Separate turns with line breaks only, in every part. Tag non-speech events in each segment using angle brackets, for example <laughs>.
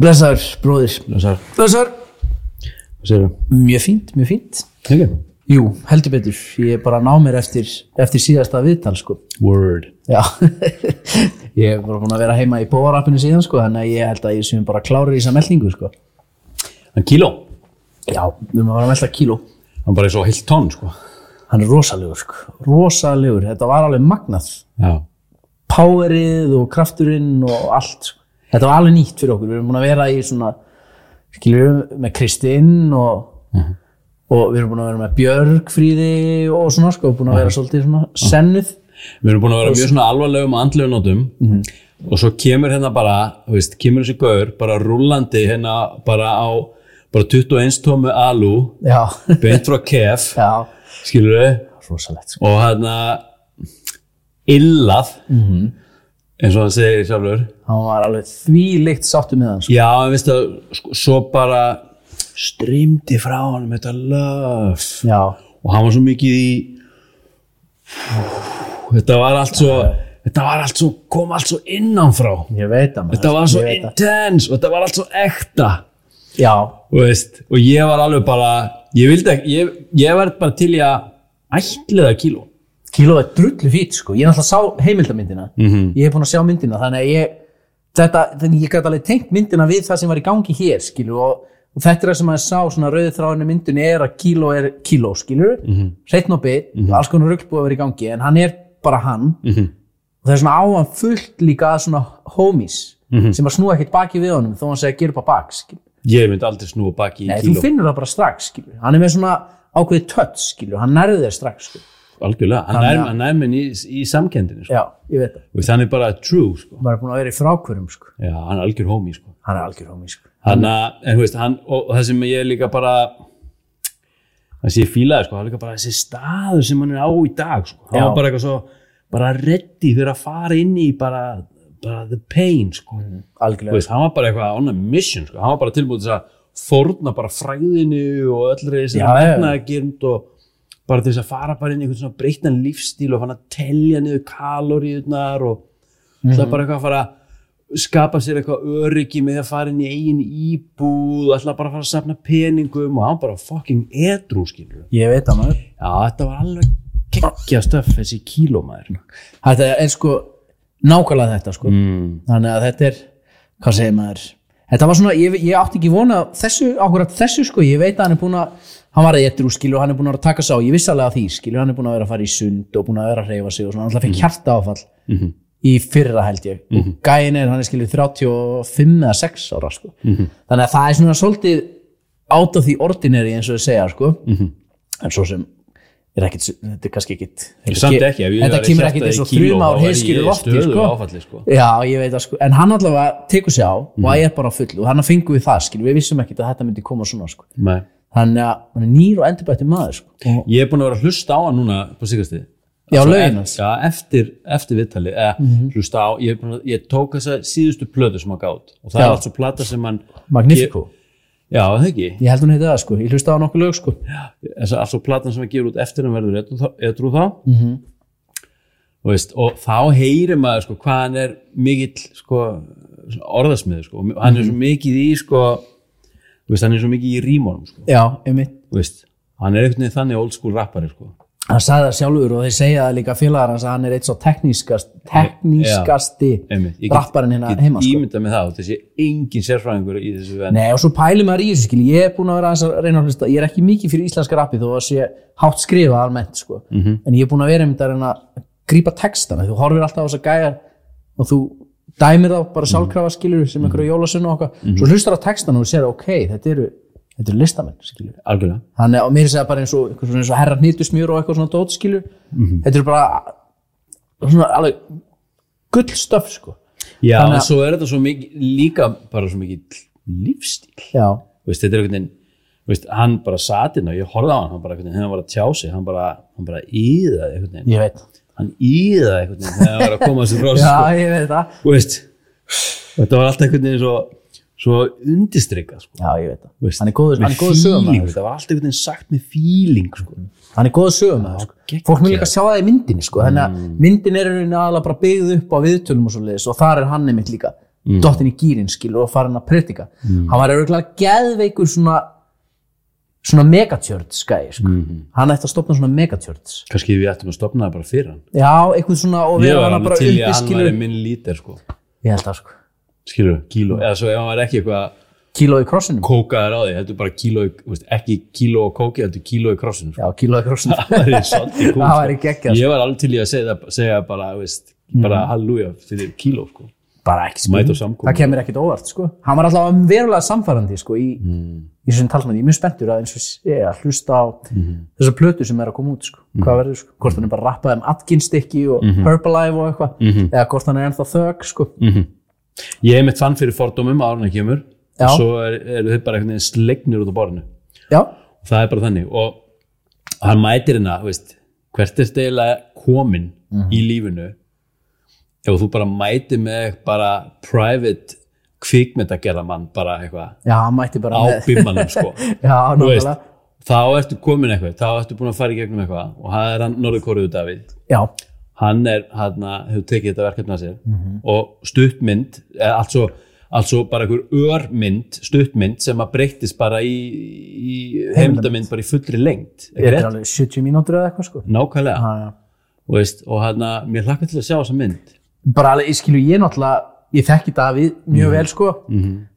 Blessaður, bróðir
Blessaður.
Blessaður
Hvað segirðu?
Mjög fínt, mjög fínt
Ekki?
Jú, heldur betur, ég bara ná mér eftir, eftir síðasta viðtal sko
Word.
Já, <laughs> ég er bara búin að vera heima í bóðarappinu síðan sko Þannig að ég held að ég sem bara klárir í þessa meldingu sko
Hann kíló.
Já, við maður var að melda kíló
Hann bara er svo heilt tónn, sko.
Hann er rosalegur sko, rosalegur, þetta var alveg magnað
Já.
Powerið og krafturinn og allt sko. Þetta var alveg nýtt fyrir okkur, við erum búin að vera í svona Skiljum með Kristinn og Og við erum búin að vera með Björgfríði og svona sko, búin að vera svolítið svona sennuð.
Við erum búin að vera mjög svona alvarlegum og andlegum nótum og svo kemur hérna bara, þú veist, kemur þessi gaur bara rúllandi hérna bara á bara 21 tómu alú
Mhm. Já,
beint frá kef,
<laughs> já,
skilur
rosalegt sko.
og hérna illað Mhm. eins og hann segir sjálfur
Hann var alveg þvíleikt sáttu með hann sko.
Já, en veistu að sko, svo bara strýmdi frá honum þetta löf
Já,
og hann var svo mikið í þetta var allt svo þetta var allt svo, kom allt svo innanfrá
ég veit að maður.
þetta var svo
Ég veit að-
intense og þetta var allt svo ekta
Já,
Þú veist, og ég var alveg bara ég vildi ekki, ég, ég var bara til í að ætliða kíló
kíló er drullu fít sko. Ég er náttúrulega sá heimildamyndina. -hmm. Ég hef búin að sjá myndina, þannig að ég, þetta, þannig að ég gæti alveg tengt myndina við það sem var í gangi hér, skilju, og, og þetta er það sem maður sá, svona rauði þráinu myndinu er að kíló er kíló, skilju, mm -hmm. hreitn og bit, alls konar rugl búið að vera í gangi, en hann er bara hann, og það er svona áan fullt líka að svona homies sem að snúa ekkert baki við honum þó hann segja að gera upp á bak skilur.
ég myndi aldrei snúa baki í
Nei, þú
kíló
finnur það bara strax skilur. hann er með svona ákveðið tött skilur. hann nærði þér strax skilur.
algjörlega, hann
Þannig
er,
að-
hann er minn í, í samkendinu sko.
já, ég veit það,
og þannig bara true sko.
maður er búin að vera í frákvörum sko.
Já, hann er algjör homie sko.
hann er algjör homi sko.
hann, að- en, þú veist, hann, og, og það sem ég líka bara það sem ég fílaði sko, það er líka bara þessi staður sem hann er á í dag sko. hann
Já.
var bara eitthvað svo bara ready fyrir að fara inn í bara, bara the pain sko. Þú
algjörlega,
veist, hann var bara eitthvað on a mission sko. hann var bara tilbúin til þess að forna bara fræðinu og öllri þessi
Já, já.
metnaðagirnd og bara til þess að fara bara inn í einhvern svona breyttan lífstíl og fann að telja niður kaloríunar og það
Mhm.
er bara eitthvað að fara að skapa sér eitthvað öryggi með að fara inn í eigin íbúð og ætla bara að fara að safna peningum og hann bara fucking edru skilur
ég veit það maður
já þetta var alveg geggja stöf þessi kílómaður
þetta er sko nákvæmlega þetta sko.
mm.
þannig að þetta er, hvað segir maður þetta var svona, ég, ég átti ekki vona þessu, ákvörðat þessu sko, ég veit að hann er búin að hann var að getur úr skilju og hann er búin að vera að taka sá ég vissi alveg að því skilju, hann er búin að vera að fara í sund og búin að vera að hreyfa sig og svona, hann alltaf
Mm.
fekk hjarta áfall
Mhm.
í fyrra held ég og gæin er, hann er skilju 35 eða 6 ára sko,
Mhm.
þannig að það er svona svolítið out of the ordinary eins og þau segja sko,
Mhm.
en svo sem er ekkit, þetta er kannski ekkit þetta
samt
ke-
ekki, ef ég
þetta
væri
kemur
hjartað
ekkit
í
eins og
kíló,
þrjum
þá
ár
væri
heiskir
ég
í
í
lofti
stöðugu
sko.
áfalli, sko.
Já, ég veit að sko, en hann allavega tekur sig á og
Mhm.
ég er bara á fullu og hann fengið við það, skilur, við vissum ekkert að þetta myndi koma svona, sko.
Nei.
Þannig að hann er nýr og endurbætti maður, sko. Og,
Ég er búin að vera að hlusta á hann núna på síkastið.
Já, lögin hans. Mhm.
Já, eftir, eftir viðtalið, eða hlusta á, ég, er búinn að, ég tók þessa síðustu plötu sem hann gátt og það
Já.
er allt svo plata sem hann...
Magnifico.
Ég, já, það ekki.
Ég held hún heiti það, sko, ég hlusta á nokkuð lög, sko.
Þessa allt svo platan sem hann gefur út eftir hann verður edrú þá- edrú þá. Mm -hmm.
Mhm.
veist, og þá heyrir maður sko hvað hann er mikill sko, svona orðasmiður sko og hann er
Mhm.
svo mikið í sko, þú veist, hann er svo mikið í rímónum sko,
Já, einmitt.
þú veist, hann er einhvern veginn þannig old school rappari sko.
Hann sagði það sjálfur og þeir segja það líka félagar hans að hann er eitt svo teknískast, teknískasti
Einmitt. Ég get-
rapparinn hérna
get
heima, sko.
ímyndað með það og þessi engin sérfræðingur í þessu en
Nei, og svo pælum maður í þessu, skil, ég er búin að vera aðeins að reyna að hlusta, ég er ekki mikið fyrir íslenska rappi þó að sé hátt skrifa almennt, sko, -hmm.
Mhm.
en ég er búin að vera einmitt að reyna að grípa textana, þú horfir alltaf á þess að gæja og þú dæmir þá
Mhm.
bara sjálfkrafa skilur sem einhverju jólasunn og okkar, svo hlustar á textana og þú sér, ok, þetta eru, þetta eru listamenn, skilur,
algjörlega
þannig að mér segja bara eins og, einhver svona eins og herra hnýtusmjör og eitthvað svona dót, skilur, þetta eru bara svona alveg gullstöf, sko,
Já,
Þannig
en
að-
svo er þetta svo mikið líka bara svo mikið lífstíl
já,
Þú veist, þetta er einhvern veginn þú veist, hann bara sat inn og ég horfði á hann hann bara einhvern veginn, þegar hann var að tjá sig hann bara, hann bara íðaði einhvern veginn
ég veit,
hann íðaði einhvern veginn þegar hann var að koma
<laughs>
sér frá
já,
sko.
ég veit það,
Þú veist, þetta var alltaf einhvern veginn svo, svo undistrykka sko.
já, ég veit það,
Þú veist,
hann er góður,
með
hann er góður sögumæður,
feeling, þetta var alltaf einhvern veginn sagt með feeling sko.
hann er góð sögumæður sko.
geggjað. Mm.
fólk vil líka sjá það í myndinni sko. þannig að myndin er í rauninni aðalega bara byggð upp á viðtölum og svo og þar er hann einmitt líka mm. dottin í gýrin skilur og farin að predika
Mm.
hann var örgulega geðveikur svona svona megatjörns gæði sko.
Mm-hmm.
hann ætti að stopna svona megatjörns
kannski við ættum að stopna það bara fyrir hann
já, eitthvað svona og
ég
vera
var
hann
hann
bara
til í að
uppi
hann
skilur
væri minn lítir sko
ég held það sko,
skilur, kíló, eða svo ef hann var ekki eitthvað
kíló í krossinum
kókaður á því, heldur bara kíló í- þú veist, ekki kíló og kóki, heldur kíló í krossin sko. <laughs>
já, kíló í krossinum
það væri svolítið kúl
Það
sko.
væri geggjað, sko. Mm.
ég var alveg til í að segja, það- segja bara, þú veist, bara halleluja fyrir kíló sko.
bara ekki
Mæta á
spurning,
samkomu.
það kemur ekkit óvart sko. hann var alltaf verulega samfærandi sko, í,
Mm.
í þessum talsmanni, ég er mjög spenntur að eins og sé að hlusta á
Mhm.
þessar plötu sem er að koma út, sko. hvað verður sko. hvort hann er bara að rappaði um Atkins stykki og
Mhm.
Herbalife og eitthvað, eða hvort hann er ennþá þögg, sko.
ég hef mitt fann fyrir fordómum árun að kemur
Já.
og svo er, eru þau bara einhvern veginn slegnir út á borðinu
já,
það er bara þannig og hann mætir hérna, þú veist hvert er stegilega komin í lífinu ef þú bara mætir með bara private kvikmyndagerðamann bara eitthvað
já, hann mætti bara
á
með-
bímanum sko
já,
Þú veist,
náttúrulega,
þá ertu komin eitthvað, þá ertu búin að fara í gegnum eitthvað og það er hann Norðurkóriðu Davíð
já,
hann er, hann hefur tekið þetta verkefni að sér
Mhm.
og stuttmynd eða altså, altså bara einhver örmynd, stuttmynd sem að breyttist bara í, í heimildamynd bara í fullri lengt
þetta er alveg 70 mínútur eða eitthvað, sko.
nákvæmlega
Já, já.
og, veist, og hann að mér hlakka til að sjá þessa mynd
bara alveg, ég skilu ég náttúrulega ég þekki Davíð mjög vel sko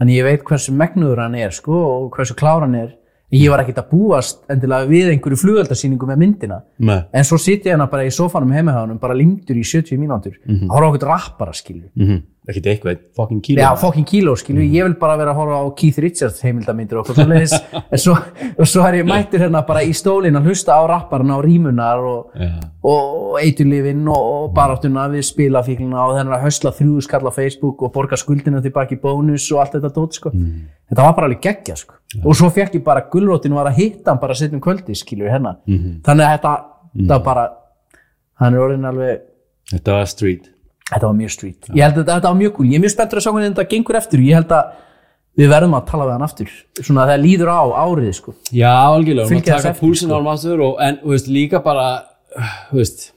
þannig ég veit hversu megnuður hann er sko og hversu klár hann er en ég var ekkert að búast endilega við einhverju flugöldarsýningu með myndina
Nei.
en svo sitja hann bara í sofanum heimahjáðunum bara lindur í 70 mínútur mm -hmm. horfa á okkur rappara skilu
mm -hmm. ekkert eitthvað, fucking kíló
Já, fokkin kíló, skilu, ég vil bara vera að horfa á Keith Richards heimildamindur og okkur leðis en svo, og svo er ég mættur hérna bara í stólinn að hlusta á rapparna og rímunar og,
Já.
og eiturlifin og, og baráttuna við spilafíklina og þennan að hösla þrjú skall á Facebook og borga skuldina tilbaki í bónus og allt þetta dót sko. þetta var bara alveg geggja sko. og svo fekk ég bara gulrótin var að hitta hann bara setjum kvöldi skilur hérna þannig að þetta, þetta var bara hann er orðin alveg
þetta var street
þetta var mjög street ég held að þetta- þetta var mjög cool, ég er mjög spenntur að sjá hvernig þetta gengur eftir ég held að við verðum að tala við hann aftur svona að það líður á árið sko.
já, algjörlega, hún
Fylgja þessu
að taka
eftir, sko.
púlsinn á hann aftur og, en, þú veist, líka bara þú veist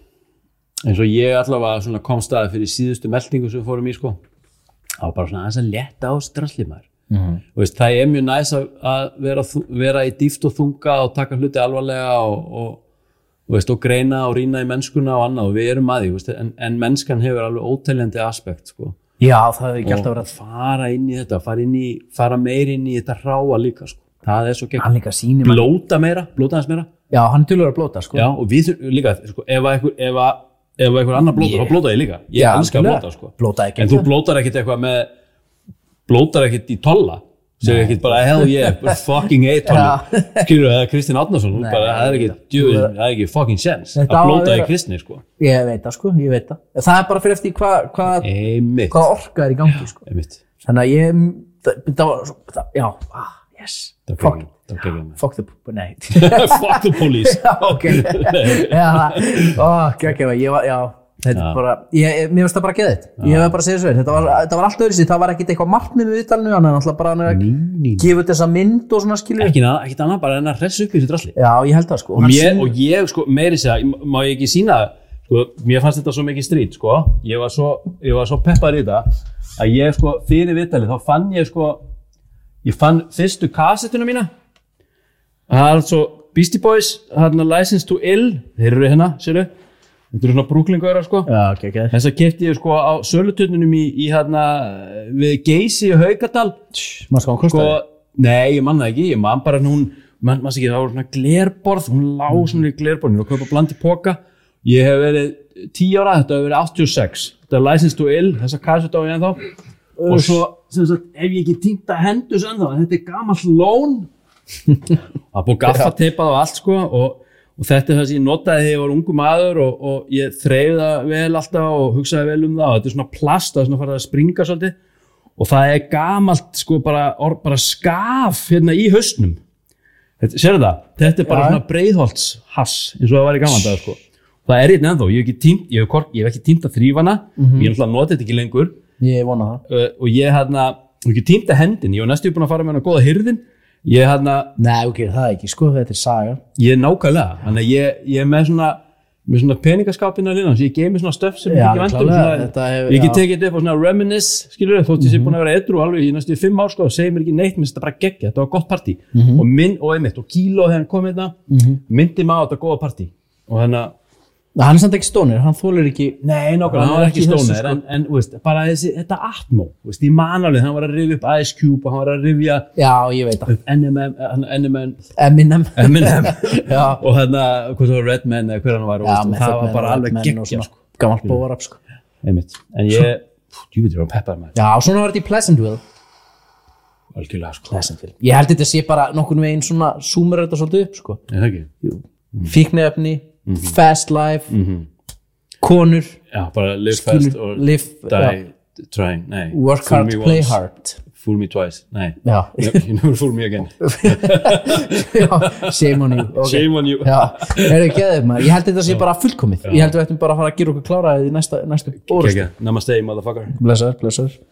eins og ég allavega svona komst að fyrir síðustu meldingu sem við fórum í sko það var bara svona aðeins að letta á strallimar mm. veist, það er mjög næs að, að vera, þu- vera í dýft og þunga og taka hluti alvarlega og, og, og, veist, og greina og rýna í mennskuna og annað og við erum að því, þú veist, en, en mennskan hefur alveg óteljandi aspekt sko
já, það hefði ekki alltaf
og
verið að
fara inn í þetta, fara, inn í, fara meir inn í þetta hráa líka sko. það er svo gegn,
hann líka sýnir manni-
blóta meira blóta hans meira,
já, hann er tölur að blóta sko.
já, og við þurfum líka sko, ef að einhver, ef að, ef að einhver annar blóta,
Ég-
þá blóta ég líka ég
Já,
elska að
algjörlega.
blóta, sko
Blótaði
en þú
geggjað.
blótar ekkit eitthvað með blótar ekkit í tolla segir ekkit bara hell
<laughs>
yeah, but fucking a tolla skilur það, Kristinn Árnason hún
Nei,
bara, það er ekki, djú, það er ekki fucking sense
Þetta
að
á að
blóta í
vera-
Kristni, sko
ég veit það sko, ég veit það það er bara fyrir eftir hvað hva,
einmitt,
hva orka er í gangi sko.
einmitt
þannig að ég það, það, var svo- það, já, ah, yes
Það var
fuck,
geggjað, það var geggjað, maður.
fuck the, nei <laughs>
<laughs> fuck the police
Já,
<laughs>
ok <laughs> já, ó, geggjum, ég var, já þetta
Já.
er bara, ég, ég- mér finnst það bara geðið ég hef bara að segja þessu veginn, þetta var, þetta var allt öðru sér það var ekkit eitthvað markmið við viðtalinu hann er náttúrulega bara hann er að
Ný, ný, ný.
gefa út þessa mynd og svona skilur
ekki annað, ekkert annað bara en að hressa upp í þessu drasli
já, ég held það sko
og,
Hann
mér,
sýnir-
og ég sko, meiri segja, ég- má ég ekki sína það sko, mér fannst þetta svo mikið strít sko. ég, var svo, ég var svo peppar í þetta að ég sko, fyrir vitali þá fann ég sko, ég fann fyrstu kassettuna mína það er svo Beastie Boys hérna License to Ill, þeir eru hérna sérðu, þetta eru svona brúklingöra sko.
já, geggjum,
þess að kefti ég sko á söluturninum í, í hérna við Geysi í Haukadal
maður sko hann
sko,
kostaði
nei, ég man það ekki, ég man bara að hún, man, man ekki, það voru svona glerborð, hún lá svona í glerborðinu og köpa bland í poka, ég hef verið 10 ára, þetta hefur verið 86 þetta er License to Ill, þessa kassut á ég ennþá og svo, sem sagt, ef ég ekki týnda hendus ennþá, þetta er gamall lón það er búið gaffateipað og allt sko og, og þetta er það sem ég notaði þegar ég var ungu maður og, og ég þreyfi það vel alltaf og hugsaði vel um það og þetta er svona plast, það er svona farið að springa svolítið og það er gamalt sko bara, or, bara skaf hérna í hausnum þetta, sérðu það, þetta er bara
Já.
svona breiðholtshass eins og það var í gaman dag sko það er hérna ennþá, ég hef ekki tímt, ég hef, kork- ég hef ekki tímt að þrýfana, ég hef alltaf notið þetta ekki lengur
ég vona það
uh, og ég hérna, og ekki tímt að hendin ég var næstu búin að fara með hana góða hyrðin ég hérna,
nei, ok, það er ekki sko, þetta er saga
Ég nákvæmlega, þannig að ég, ég er með svona með svona peningaskapina lína ég geymi svona stöf sem ég
Já,
ekki vendum
klálega,
svona,
þetta hef-
ég get
já.
tekið þetta upp og svona reminisce skilur þér, þótt ég sé búin að vera edru alveg í næstu fimm ár sko, segir mér ekki neitt, minnst þetta bara geggja þetta var gott partí
Mhm.
og minn og einmitt og kíló þegar hann kom hérna, myndi maður á þetta góða partí og þannig að
hann er samt ekki stónir, hann þólar ekki
Nei, nokkur,
Hann
hann var
var ekki
ekki
í þessu,
stónir
sko.
en, en þú veist, bara þessi, þetta atmó þú veist, ég man alveg, hann var að rifja upp Ice Cube og hann var að rifja
já, ég veit það,
upp NMM, eh, NMM
Eminem
<laughs> Eminem
<laughs> já,
og hérna, hvað svo Redman eða hver hann var, þú
já
veist, og
með
það var
Fat Man
bara
og
alveg
Redman og
geggja
svona
sko.
gammalt bóvarap sko.
einmitt, en ég, djúvitur, ég var peppar með
já, svona var þetta í Pleasantville
algjörlega, sko,
Pleasantville, ég held þetta sé bara nokkurn veginn svona, zoomur þetta svolítið upp sko.
er það ekki? Mhm.
fíknefni, fast life konur
Já, bara live
Skilur,
Mhm. fast or
live-
die trying, nei
work
Fool
hard,
me
play
once,
hard
Fool me twice,
<laughs>
nei
já,
You you never fool me again
Já, shame on you okay.
Shame on you
já, er þið geðið maður ég held þetta sé bara fullkomið ég held við ættum bara að fara að gera okkur klára í næsta, næsta orð
Kekja, namaste, motherfucker
blessaður, blessaður